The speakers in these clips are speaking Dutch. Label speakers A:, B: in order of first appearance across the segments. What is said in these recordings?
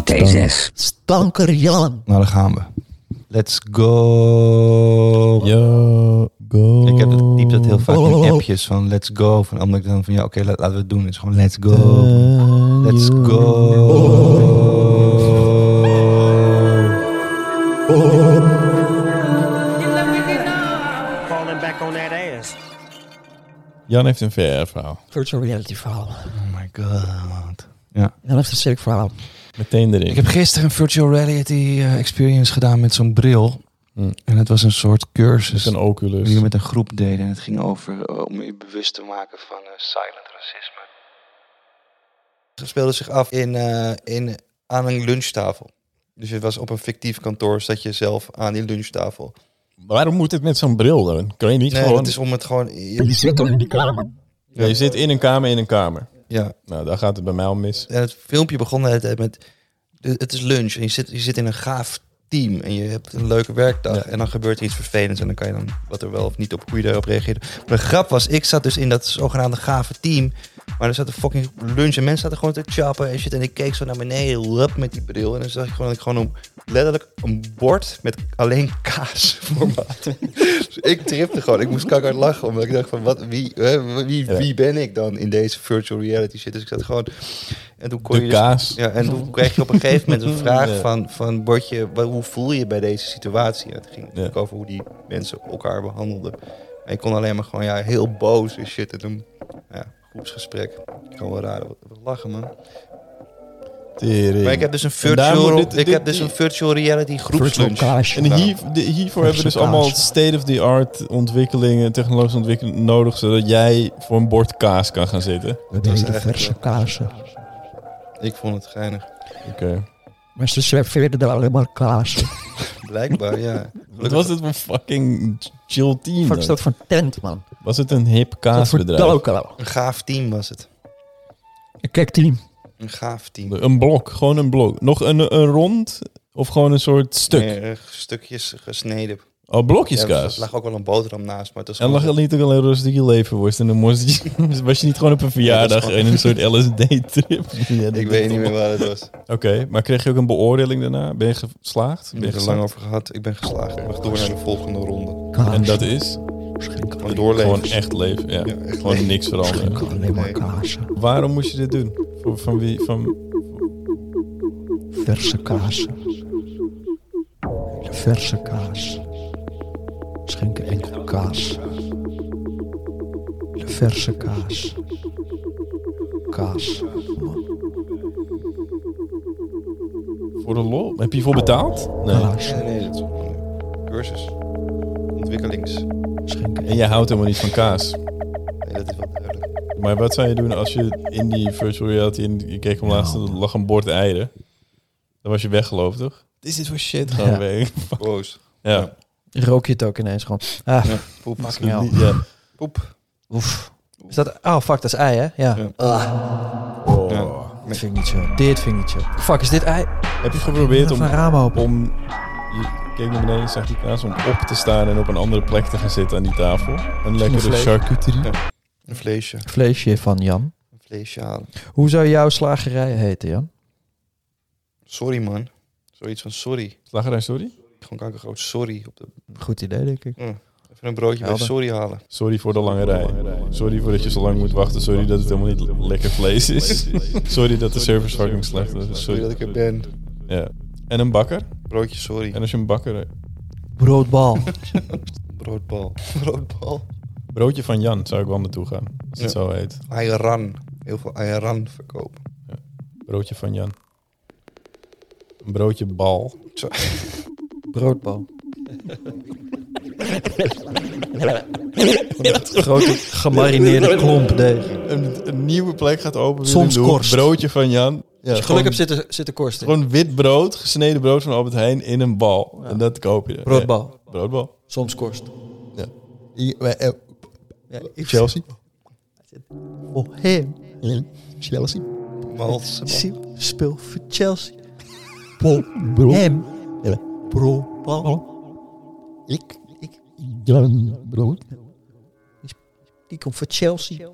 A: AT6.
B: Stanker Jan.
C: Nou, daar gaan we. Let's go.
D: Yo, go.
C: Ik heb dat, diep dat heel vaak in appjes van let's go. Van omdat ik dan van ja, oké, la- laten we het doen. Het is gewoon let's go. Let's go.
E: falling back on that ass.
D: Jan heeft een VR-verhaal.
B: Virtual reality verhaal.
C: Oh my god. Ja.
B: Jan heeft een sterk verhaal.
D: Meteen erin.
C: Ik heb gisteren een virtual reality eh, experience gedaan met zo'n bril.
D: Hm.
C: En het was een soort
D: Met
C: cursus.
D: een Oculus.
C: die we met een groep deden. En het ging over eh, om je bewust te maken van eh, silent racisme. Het speelde zich af in, eh, in, aan een lunchtafel. Dus het was op een fictief kantoor, zat je zelf aan die lunchtafel.
D: Waarom moet het met zo'n bril dan? Kan je niet
C: Nee,
D: gewoon...
C: het is om het gewoon...
D: Ja, je zit in een kamer, in een kamer.
C: Ja,
D: Nou, daar gaat het bij mij al mis.
C: en het filmpje begon de hele tijd met... de- Eh, Het is lunch en je zit, je zit in een gaaf team en je hebt een leuke werkdag.
D: Ja.
C: En dan gebeurt er iets vervelends en dan kan je dan wat er wel of niet op, hoe je daarop reageert. Maar de grap was, ik zat dus in dat zogenaamde gave team. Maar er zat een fucking lunch en mensen zaten gewoon te chappen en shit. En ik keek zo naar beneden, lap met die bril. En dan zag ik gewoon dat ik gewoon een, letterlijk een bord met alleen kaas voor me had. dus ik tripte gewoon. Ik moest kakker lachen, omdat ik dacht van, wat, wie, hè, wie,
D: Ja.
C: wie ben ik dan in deze virtual reality shit? Dus ik zat gewoon... En toen kon
D: De
C: je dus-
D: kaas.
C: ja, en toen kreeg je op een gegeven moment een vraag
D: Ja.
C: van, van Bortje, wa- hoe voel je je bij deze situatie? En het ging natuurlijk
D: Ja.
C: over hoe die mensen elkaar behandelden. En ik kon alleen maar gewoon ja, heel boos en shit. En toen, ja, groepsgesprek. Gewoon wel raar, wat, wat lachen man.
D: Tering.
C: Maar ik heb dus een
D: En daar moet
C: virtual,
D: dit-
C: ik
D: dit-
C: heb dus een virtual reality
B: Virtual
C: groepslunch.
B: Cash.
D: En hier, de- hiervoor hebben we dus
B: Kaas.
D: allemaal state-of-the-art ontwikkelingen, technologische ontwikkelingen nodig, zodat jij voor een bord kaas kan gaan zitten.
B: We deden
C: echt,
B: verse
C: eh,
B: kaarsen.
C: Ik vond het geinig.
D: Oké.
B: Maar ze serveerden er alleen maar kaarsen.
C: Blijkbaar, ja.
D: Wat was het voor fucking chill team?
B: Fuck
D: dan?
B: is dat voor tent, man?
D: Was het een hip
B: Dat voor
D: kaasbedrijf?
B: Dalokalo.
C: Een gaaf team was het.
B: Ik kijk team.
C: Een gaaf team.
D: Een blok, gewoon een blok. Nog een, een rond of gewoon een soort stuk?
C: Meer, eh, stukjes gesneden.
D: Oh, blokjes
C: Ja,
D: kaas.
C: er lag ook wel een boterham naast, maar het was
D: en lag
C: gewoon-
D: er niet ook alleen rustige leverworst en dan moest je, was je niet gewoon op een verjaardag
C: gewoon-
D: en een soort LSD-trip?
C: Ik weet niet meer waar het was.
D: Oké, maar kreeg je ook een beoordeling daarna? Ben je geslaagd? Ben
C: Ik
D: je
C: heb er lang
D: geslaagd?
C: over gehad. Ik ben geslaagd. We gaan door naar de volgende ronde.
B: Kaas.
D: En dat is?
C: Gewoon doorleven.
D: Gewoon echt leven, ja.
C: Ja, echt
D: gewoon
C: leven.
D: niks veranderen.
B: Kan alleen maar
C: Nee.
B: kaarsen.
D: Waarom moest je dit doen? Van, van wie? Van...
B: Verse kaarsen. De verse kaas. Schenken enkel kaas. De verse kaas. Kaas.
D: Voor de lol? Heb je hiervoor betaald? Nee.
B: Kaas.
C: Nee, nee, dat is een cursus. Ontwikkelings. Nee,
B: Schenken
D: En jij houdt helemaal niet van kaas.
C: dat is wel duidelijk.
D: Maar wat zou je doen als je in die virtual reality... In, je keek om laatst, er lag een bord eieren. Dan was je weggelopen, toch? Dit Is dit voor shit? Gewoon
B: Ja.
D: weg.
C: Boos.
D: Ja.
B: rook je het ook ineens gewoon. Ah,
C: Ja. Poep.
B: fucking hell.
D: ja.
C: Poep.
B: Oef. Is dat... Oh, fuck, dat is ei, hè? Ja.
C: Ja.
B: Ah,
D: Oh.
B: dat vind ik niet zo. Dit vind ik niet zo. Fuck, is dit ei?
D: Heb je geprobeerd om...
B: Even een raam open.
D: om je keek naar beneden en zag die kaas om op te staan en op een andere plek te gaan zitten aan die tafel. Een lekkere
B: vlees.
D: charcuterie.
C: Ja. Een vleesje.
B: Vleesje van Jan.
C: Een vleesje halen.
B: Hoe zou jouw slagerij heten, Jan?
C: Sorry, man. Zoiets van sorry.
D: Slagerij, sorry?
C: Gewoon kankergroot sorry. Op de...
B: Goed idee, denk ik.
C: Mm. Even een broodje bij
B: Helder.
C: Sorry halen.
D: Sorry voor de lange rij. Sorry voor dat je zo lang moet wachten. Sorry dat het helemaal niet lekker vlees is. Sorry dat de service fucking slecht is.
C: Sorry
D: Sorry.
C: dat ik er ben.
D: Ja. En een bakker.
C: Broodje sorry.
D: En als je een bakker...
B: Broodbal.
C: Broodbal. Broodbal.
D: Broodje van Jan zou ik wel naartoe gaan. Als het
C: Ja.
D: zo heet.
C: Ayran. Heel veel ayran verkopen.
D: Broodje van Jan. Een broodje bal.
B: Broodbal. Grote gemarineerde klomp deeg.
D: Een, een nieuwe plek gaat open. weer
B: Soms
D: in de hoek.
B: korst.
D: Broodje van Jan. Ja,
B: Als je
D: gewoon-
B: geluk hebt zitten, zitten korsten.
D: Gewoon wit brood, gesneden brood van Albert Heijn in een bal. En dat koop je. er.
B: Broodbal.
D: Ja, broodbal.
B: Soms korst.
A: eh,
C: Ja,
D: Chelsea.
B: Oh, hem.
D: Chelsea.
C: Mals.
B: Speel voor Chelsea. Paul hem. Bro,
A: Ik, ik, Jan Brood.
B: Die komt voor Chelsea.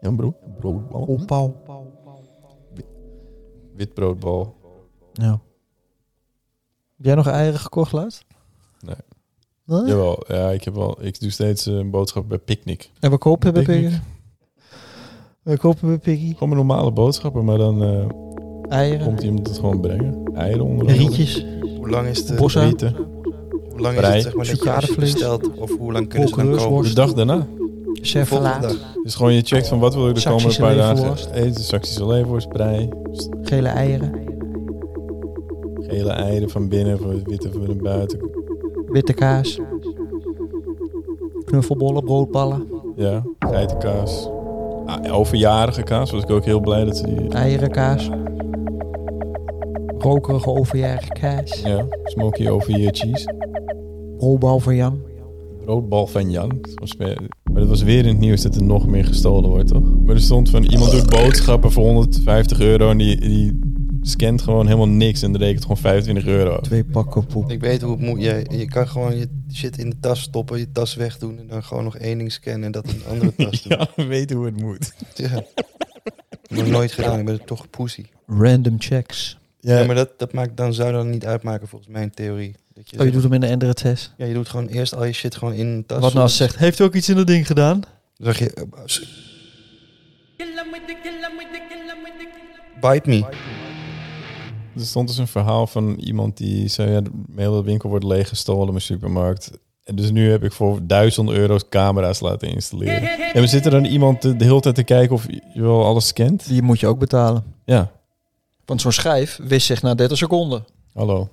A: Jan Brood. Brood.
B: Oh, Paul.
D: Wit broodbal.
B: Ja. Heb jij nog eieren gekocht laatst?
D: Nee.
B: Nee?
D: Jawel, ja, ik, heb wel, ik doe steeds eh, een boodschap bij Picnic.
B: En we kopen bij
D: Picnic.
B: Piggy. We kopen bij Piggy.
D: Gewoon mijn normale boodschappen, maar dan eh, komt
B: Eieren.
D: iemand het gewoon brengen. Eieren onder andere.
B: Rietjes.
C: Hoe lang is de...
B: Bossa.
D: Rieten.
C: Hoe lang is
D: Brei.
C: het zeg maar dat je als je
B: Chocadevlees.
C: bestelt? Of hoe lang kunnen ze dan komen?
D: De dag daarna.
C: Volgende
B: Servalaat.
C: dag.
D: Dus gewoon je checkt van wat wil ik de
B: Saxische
D: komende paar
B: leverworst.
D: dagen eten. Saxische leverworst, prei,
B: Gele eieren.
D: gele eieren van binnen, voor witte van buiten.
B: Witte kaas. Knuffelbollen, broodballen.
D: Ja, geitenkaas. Ah, overjarige kaas was ik ook heel blij dat ze die...
B: Eierenkaas. Rokerige overjarige kaas.
D: Ja, smoky over je cheese.
B: Broodbal voor Jan.
D: Broodbal van Jan. Soms ben- Maar het was weer in het nieuws dat er nog meer gestolen wordt, toch? Maar er stond van iemand doet boodschappen voor 150 euro en die, die scant gewoon helemaal niks en rekent gewoon 25 euro.
B: Twee pakken poep.
C: Ik weet hoe het moet. Je, je kan gewoon je shit in de tas stoppen, je tas wegdoen en dan gewoon nog één ding scannen en dat in een andere tas doen.
D: Ja, we weten hoe het moet.
C: Ja. Ik heb het nooit gedaan, ik ben toch een poesie.
B: Random checks. Oh,
C: Ja, maar dat, dat maakt, dan zou dat niet uitmaken volgens mijn theorie. Dat je,
B: Oh, je doet hem in de andere test.
C: ja, je doet gewoon eerst al je shit gewoon in een tas.
B: Wat nou als ze zegt, heeft u ook iets in dat ding gedaan?
C: Dan zeg je... eh, s- Bite me.
D: Er stond dus een verhaal van iemand die zei, ja, de hele winkel wordt leeggestolen, mijn supermarkt. En dus nu heb ik voor 1000 euro's camera's laten installeren. En we zitten dan iemand de, de hele tijd te kijken of je wel alles scant?
B: Die moet je ook betalen.
D: Ja,
B: Want zo'n schijf wist zich na 30 seconden.
D: hallo.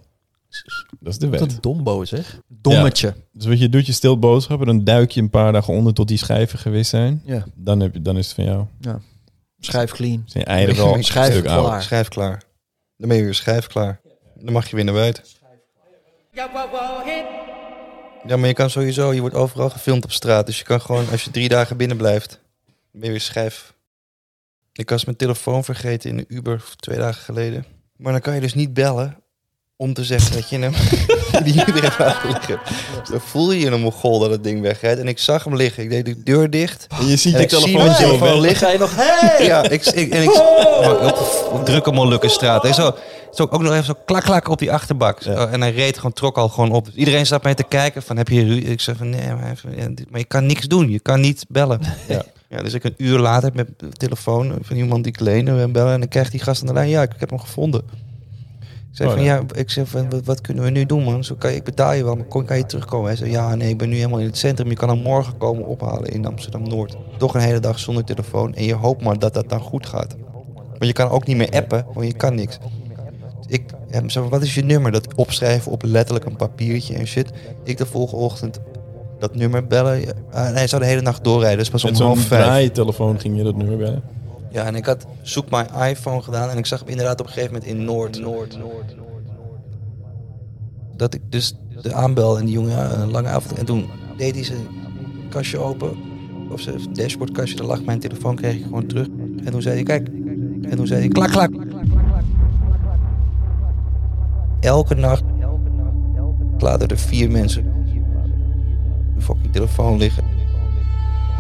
D: Dat is de wet.
B: Wat een dombo zeg. Dommetje.
D: Dus wat je doet, je stilt boodschappen, dan duik je een paar dagen onder tot die schijven geweest zijn.
B: Ja.
D: Dan, heb je, dan is het van jou.
B: Schijf clean.
D: Zijn je eieren wel een
B: Schijf
D: stuk
B: klaar.
D: ouder.
C: Schrijf klaar. Dan ben je weer schrijf klaar. Dan mag je weer naar buiten. Ja, maar je kan sowieso, je wordt overal gefilmd op straat. Dus je kan gewoon, als je drie dagen binnen blijft, dan ben je weer schijf. Ik was mijn telefoon vergeten in de Uber twee dagen geleden. Maar dan kan je dus niet bellen om te zeggen dat je hem die Uber hebt laten liggen. Dus dan voel je je een mogol dat het ding wegrijdt. En ik zag hem liggen. Ik deed de deur dicht.
D: En je ziet
C: En
D: je
C: ik zie
D: telefoon
C: mijn
D: zo
C: telefoon
D: weg.
C: liggen.
B: Ga je nog... Hey!
C: Ja, ik, ik, en ik maar op, op drukke Molukkenstraat. En zo, zo ook nog even zo klak klak op die achterbak. Zo, En hij reed gewoon, trok al gewoon op. Dus Iedereen staat mij te kijken van, heb je ru-? Ik zei van, nee, maar, even, ja, dit- maar je kan niks doen. Je kan niet bellen.
D: Ja.
C: Ja. dus ik een uur later met de telefoon van iemand die ik leende en bellen. En dan krijgt die gast aan de lijn, ja, ik, ik heb hem gevonden. Ik zei
D: Oh,
C: van,
D: ja.
C: ja, ik zei van, wat, wat kunnen we nu doen, man? Zo kan je, ik betaal je wel, maar kon, kan je terugkomen? Hij zei, ja, nee, ik ben nu helemaal in het centrum. Je kan hem morgen komen ophalen in Amsterdam-Noord. Toch een hele dag zonder telefoon. En je hoopt maar dat dat dan goed gaat. Want je kan ook niet meer appen, want je kan niks. Ik hem zei, wat is je nummer? Dat opschrijven op letterlijk een papiertje en shit. Ik de volgende ochtend dat nummer bellen. Ja, en hij zou de hele nacht doorrijden, dus pas om
D: Met zo'n
C: half vijf.
D: draaitelefoon ging je dat nummer bellen.
C: Ja, en ik had zoek mijn iPhone gedaan en ik zag hem inderdaad op een gegeven moment in Noord. Noord, Noord, Noord, Noord. Dat ik dus de aanbel en die jongen ja, een lange avond. En toen deed hij zijn kastje open, of zijn dashboardkastje, daar lag mijn telefoon, kreeg ik gewoon terug. En toen zei hij, kijk. En toen zei hij, klak, klak. Elke nacht laten er vier mensen een fucking telefoon liggen.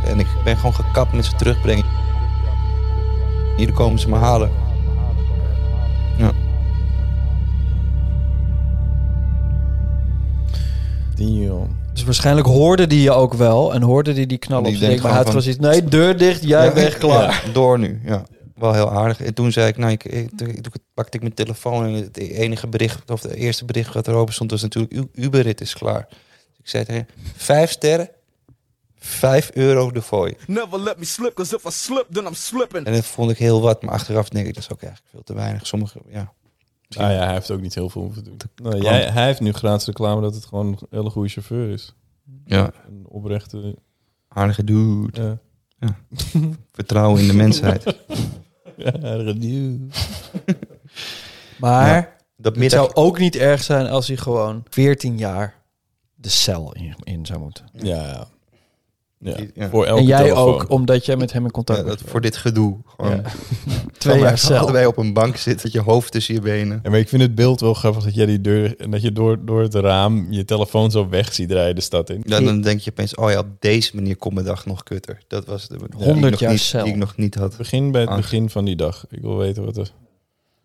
C: En ik ben gewoon gekapt met ze terugbrengen. Hier komen ze me halen. Ja.
D: Dion.
B: Dus waarschijnlijk hoorde die je ook wel en hoorde die die knallen
C: Die
B: op zijn nek,
C: denkt
B: Maar hij had
C: gewoon
B: gewoon zoiets, nee, deur dicht, jij weg, klaar.
C: Ja, door nu, ja. Wel heel aardig. En toen zei ik, nou, ik, ik, toen pakte ik mijn telefoon en het enige bericht, of het eerste bericht wat er open stond, was natuurlijk, uw Uberrit is klaar. Dus ik zei, tegen hem, vijf sterren, vijf euro de fooi.
E: Never let me slip, cause if I slip, then I'm slipping.
C: En dat vond ik heel wat, maar achteraf denk ik, dat is ook eigenlijk veel te weinig. Sommige, ja.
D: Nou ja, hij heeft ook niet heel veel hoeven doen. Nou, jij-
C: klopt.
D: hij heeft nu gratis reclame dat het gewoon een hele goede chauffeur is.
C: ja.
D: Een oprechte...
C: Aardige dude.
D: Ja.
C: Vertrouwen in de mensheid.
D: Ja, review.
B: Maar
C: Dat
B: het
C: middag,
B: zou ook niet erg zijn als hij gewoon 14 jaar de cel in, in zou moeten.
D: ja, ja. ja.
C: Ja.
D: Voor elke
B: en jij
D: telefoon.
B: ook, omdat jij met hem in
C: ja,
B: contact
C: dat,
B: bent.
C: voor dit gedoe. Gewoon,
D: Ja.
B: Twee jaar cel.
C: Allebei op een bank zitten, met je hoofd tussen je benen.
D: Ja, maar ik vind het beeld wel grappig dat jij die deur en dat je door, door het raam je telefoon zo weg ziet rijden de stad in.
C: Ja, dan denk je opeens, oh ja, op deze manier komt mijn dag nog kutter. Dat was de die
B: 100
C: ik nog
B: jaar
C: niet,
B: cel.
C: Die ik nog niet had.
D: Begin bij het
C: Angst.
D: begin van die dag. Ik wil weten wat er.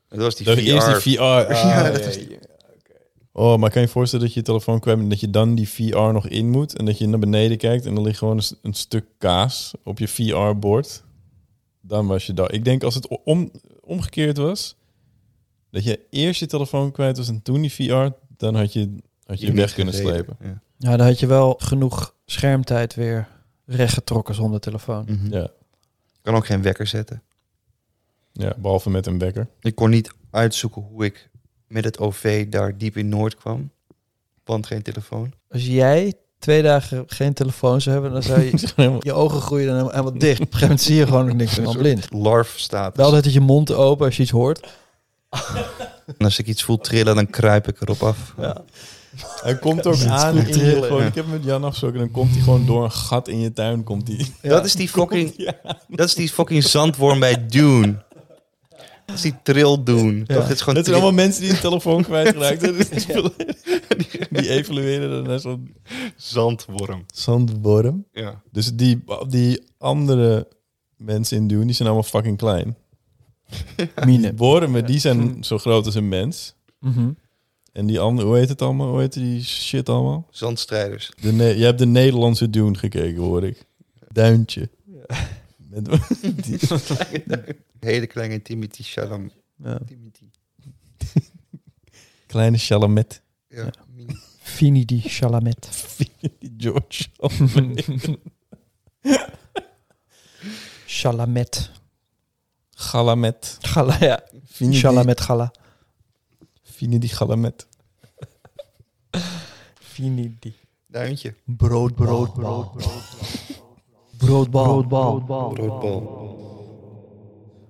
C: Dat was die
D: Dat
C: VR.
D: eerst die VR. Ah,
C: Ja, dat
D: ja,
C: was-
D: ja, oké. Oh, maar kan je je voorstellen dat je je telefoon kwijt bent en dat je dan die VR nog in moet en dat je naar beneden kijkt en er ligt gewoon een, s- een stuk kaas op je VR-bord? Dan was je daar. Ik denk als het o- om, omgekeerd was, dat je eerst je telefoon kwijt was en toen die VR, dan had je, had je,
C: Die
D: weg kunnen
C: gezeten.
D: slepen.
C: Ja.
B: Ja, dan had je wel genoeg schermtijd weer rechtgetrokken zonder telefoon.
C: Mhm.
D: Ja.
C: Ik kan ook geen wekker zetten.
D: Ja, behalve met een wekker.
C: Ik kon niet uitzoeken hoe ik met het OV daar diep in Noord kwam. Want geen telefoon.
B: Als jij twee dagen geen telefoon zou hebben, dan zou je
D: Helemaal-
B: je ogen groeien dan helemaal, helemaal dicht. Op een gegeven moment zie je gewoon nog niks meer, dan blind.
C: Larf staat.
B: Wel dat je mond open als je iets hoort.
C: En als ik iets voel trillen, dan kruip ik erop af.
D: Hij komt ook aan in je,
B: trillen.
D: gewoon,
C: Ja.
D: Ik heb met Jan afgesproken, dan komt hij gewoon door een gat in je tuin. Komt hij.
C: Dat, is die fucking, dat is die fucking zandworm bij Dune. Dat is die trill Dune. Toch, het is gewoon
D: Dat zijn
C: trill-
D: allemaal mensen die hun telefoon kwijtgeraakt zijn. Die evolueren dan naar zo'n
C: zandworm.
D: zandworm.
C: Ja.
D: Dus die, die andere mensen in Dune, die zijn allemaal fucking klein.
B: Mine.
D: Wormen, die zijn zo groot als een mens.
B: Mhm.
D: En die andere, hoe heet het allemaal? Hoe heet die shit allemaal?
C: Zandstrijders.
D: De Ne- je hebt de Nederlandse Dune gekeken, hoor ik. Duintje. Met, die,
C: Hele kleine Timothy Shalom.
B: Ja.
C: Timothy.
D: kleine Chalamet.
C: Ja. mini-
B: Fini di Chalamet.
D: Die George.
B: Chalamet.
D: Galamet.
B: Gala, ja.
D: Fini die-
B: Chalamet gala.
D: Fini die Galamet.
B: Fini di.
C: Duintje.
B: Brood, brood, brood, brood. Broodbal.
C: Broodbal.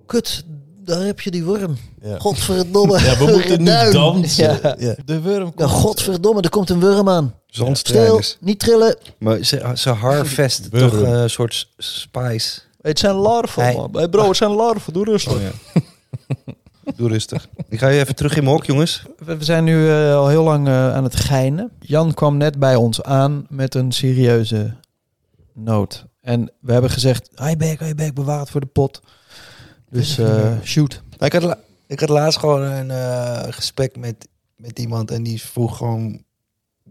B: Kut, daar heb je die worm.
D: Ja.
B: Godverdomme.
D: Ja, we moeten nu
B: Duim.
D: dansen.
B: Ja.
D: Ja. De worm
B: Ja, godverdomme, er komt een worm aan. Stil,
C: Zandstrijders.
B: niet trillen.
C: Maar ze, ze harvest
D: Burger.
C: toch eh, een soort s- spice.
B: Het zijn larven,
C: Hey.
B: man. Hey bro, het zijn larven. Doe rustig.
C: Doe rustig. Ik ga je even terug in mijn hok, jongens.
F: Oh,
B: We we zijn nu eh, al heel lang eh, aan het geinen. Jan kwam net bij ons aan met een serieuze nood. En we hebben gezegd, hi back, hi back, bewaar het voor de pot. Dus eh, shoot.
C: Nou, ik, had la- ik had laatst gewoon een eh, gesprek met, met iemand en die vroeg gewoon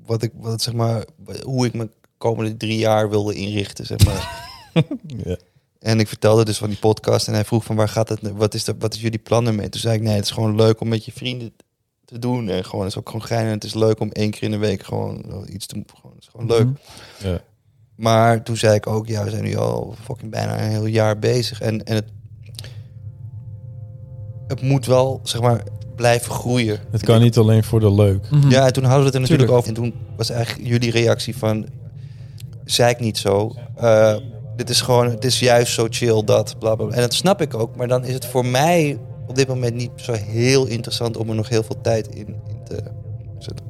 C: wat ik, wat, zeg maar, hoe ik me komende drie jaar wilde inrichten. Zeg maar.
D: Ja.
C: en ik vertelde dus van die podcast en hij vroeg van waar gaat het, wat is, dat, wat is jullie plannen mee? Toen zei ik nee, het is gewoon leuk om met je vrienden te doen en gewoon, het is ook gewoon gein en het is leuk om één keer in de week gewoon iets te doen. Gewoon, het is gewoon leuk.
D: Mhm. Ja.
C: Maar toen zei ik ook, ja, we zijn nu al fucking bijna een heel jaar bezig. En, en het, het moet wel, zeg maar, blijven groeien.
D: Het kan niet alleen voor de leuk.
B: Mhm.
C: Ja, en toen hadden we het er natuurlijk
B: Tuurlijk.
C: over. En toen was eigenlijk jullie reactie van, zei ik niet zo. Eh, dit is gewoon, het is juist zo chill dat, bla bla. bla. En dat snap ik ook. Maar dan is het voor mij op dit moment niet zo heel interessant om er nog heel veel tijd in, in te zetten.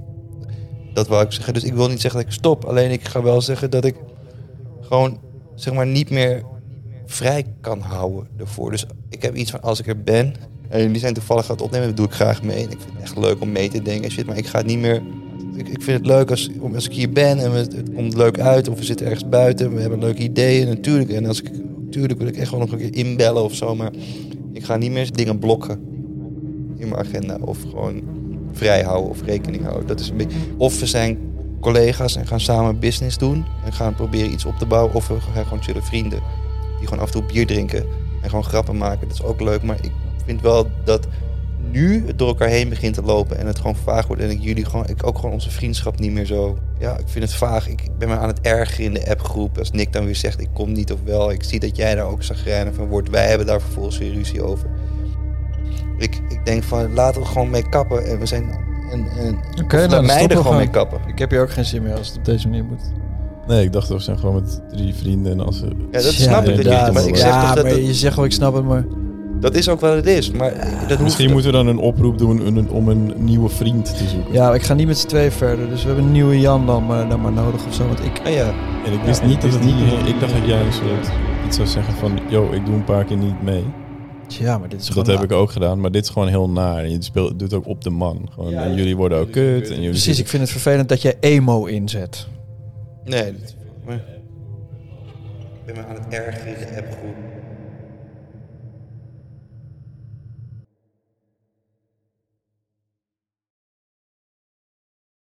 C: Dat wou ik zeggen. Dus ik wil niet zeggen dat ik stop. Alleen ik ga wel zeggen dat ik gewoon, zeg maar, niet meer vrij kan houden ervoor. Dus ik heb iets van als ik er ben. En jullie zijn toevallig aan het opnemen, dat doe ik graag mee. En ik vind het echt leuk om mee te denken en shit. Maar ik ga het niet meer. Ik, ik vind het leuk als, om- als ik hier ben en we- het komt leuk uit. Of we zitten ergens buiten. We hebben leuke ideeën. Natuurlijk. En als ik, natuurlijk wil ik echt wel nog een keer inbellen of zo. Maar ik ga niet meer dingen blokken in mijn agenda. Of gewoon vrij houden of rekening houden. Dat is een beetje. Of we zijn collega's en gaan samen business doen. En gaan proberen iets op te bouwen. Of we gaan gewoon chille vrienden. Die gewoon af en toe bier drinken. En gewoon grappen maken. Dat is ook leuk. Maar ik vind wel dat nu het door elkaar heen begint te lopen. En het gewoon vaag wordt. En ik jullie gewoon, ik ook gewoon onze vriendschap niet meer zo. Ja, ik vind het vaag. Ik ben me aan het ergeren in de appgroep. Als Nick dan weer zegt, ik kom niet of wel. Ik zie dat jij daar ook zagrijnig van wordt. Wij hebben daar vervolgens weer ruzie over. Ik, ik denk van, laten we gewoon mee kappen. En we zijn... En, en,
F: Oké,
C: of laat
F: nou, dan
C: mij
F: stoppen
C: er
F: we
C: gewoon mee kappen.
F: Ik heb hier ook geen zin meer als het op deze manier moet.
D: Nee, ik dacht we zijn gewoon met drie vrienden en als we...
C: Ja, dat snap ik. Dat jullie,
D: inderdaad.
C: doen, maar ik zeg
F: ja,
C: toch dat,
F: maar
C: dat,
F: je zegt wel, ik snap het, maar...
C: dat is ook wat het is. Maar dat hoeft
D: Misschien moeten we dan een oproep doen om een, om een nieuwe vriend te zoeken.
F: Ja, ik ga niet met z'n tweeën verder, dus we hebben een nieuwe Jan dan maar, dan maar nodig of zo. Want ik,
C: Ah, ja.
D: En ik wist
F: Ja,
D: niet dat
F: ik
D: het
F: wist
D: niet...
F: niet-
D: Ik dacht dat jij een soort iets zou zeggen van... Yo, ik doe een paar keer niet mee.
F: ja, maar dit is
D: dat
F: gewoon...
D: heb ik ook gedaan, maar dit is gewoon heel naar. En Je speelt, doet ook op de man. Gewoon,
C: Ja,
D: en
C: ja.
D: jullie worden ook kut. En jullie
F: Precies, ik vind het vervelend dat jij emo inzet.
C: Nee. dat- maar- Ik ben me aan het ergeren in de appgroep.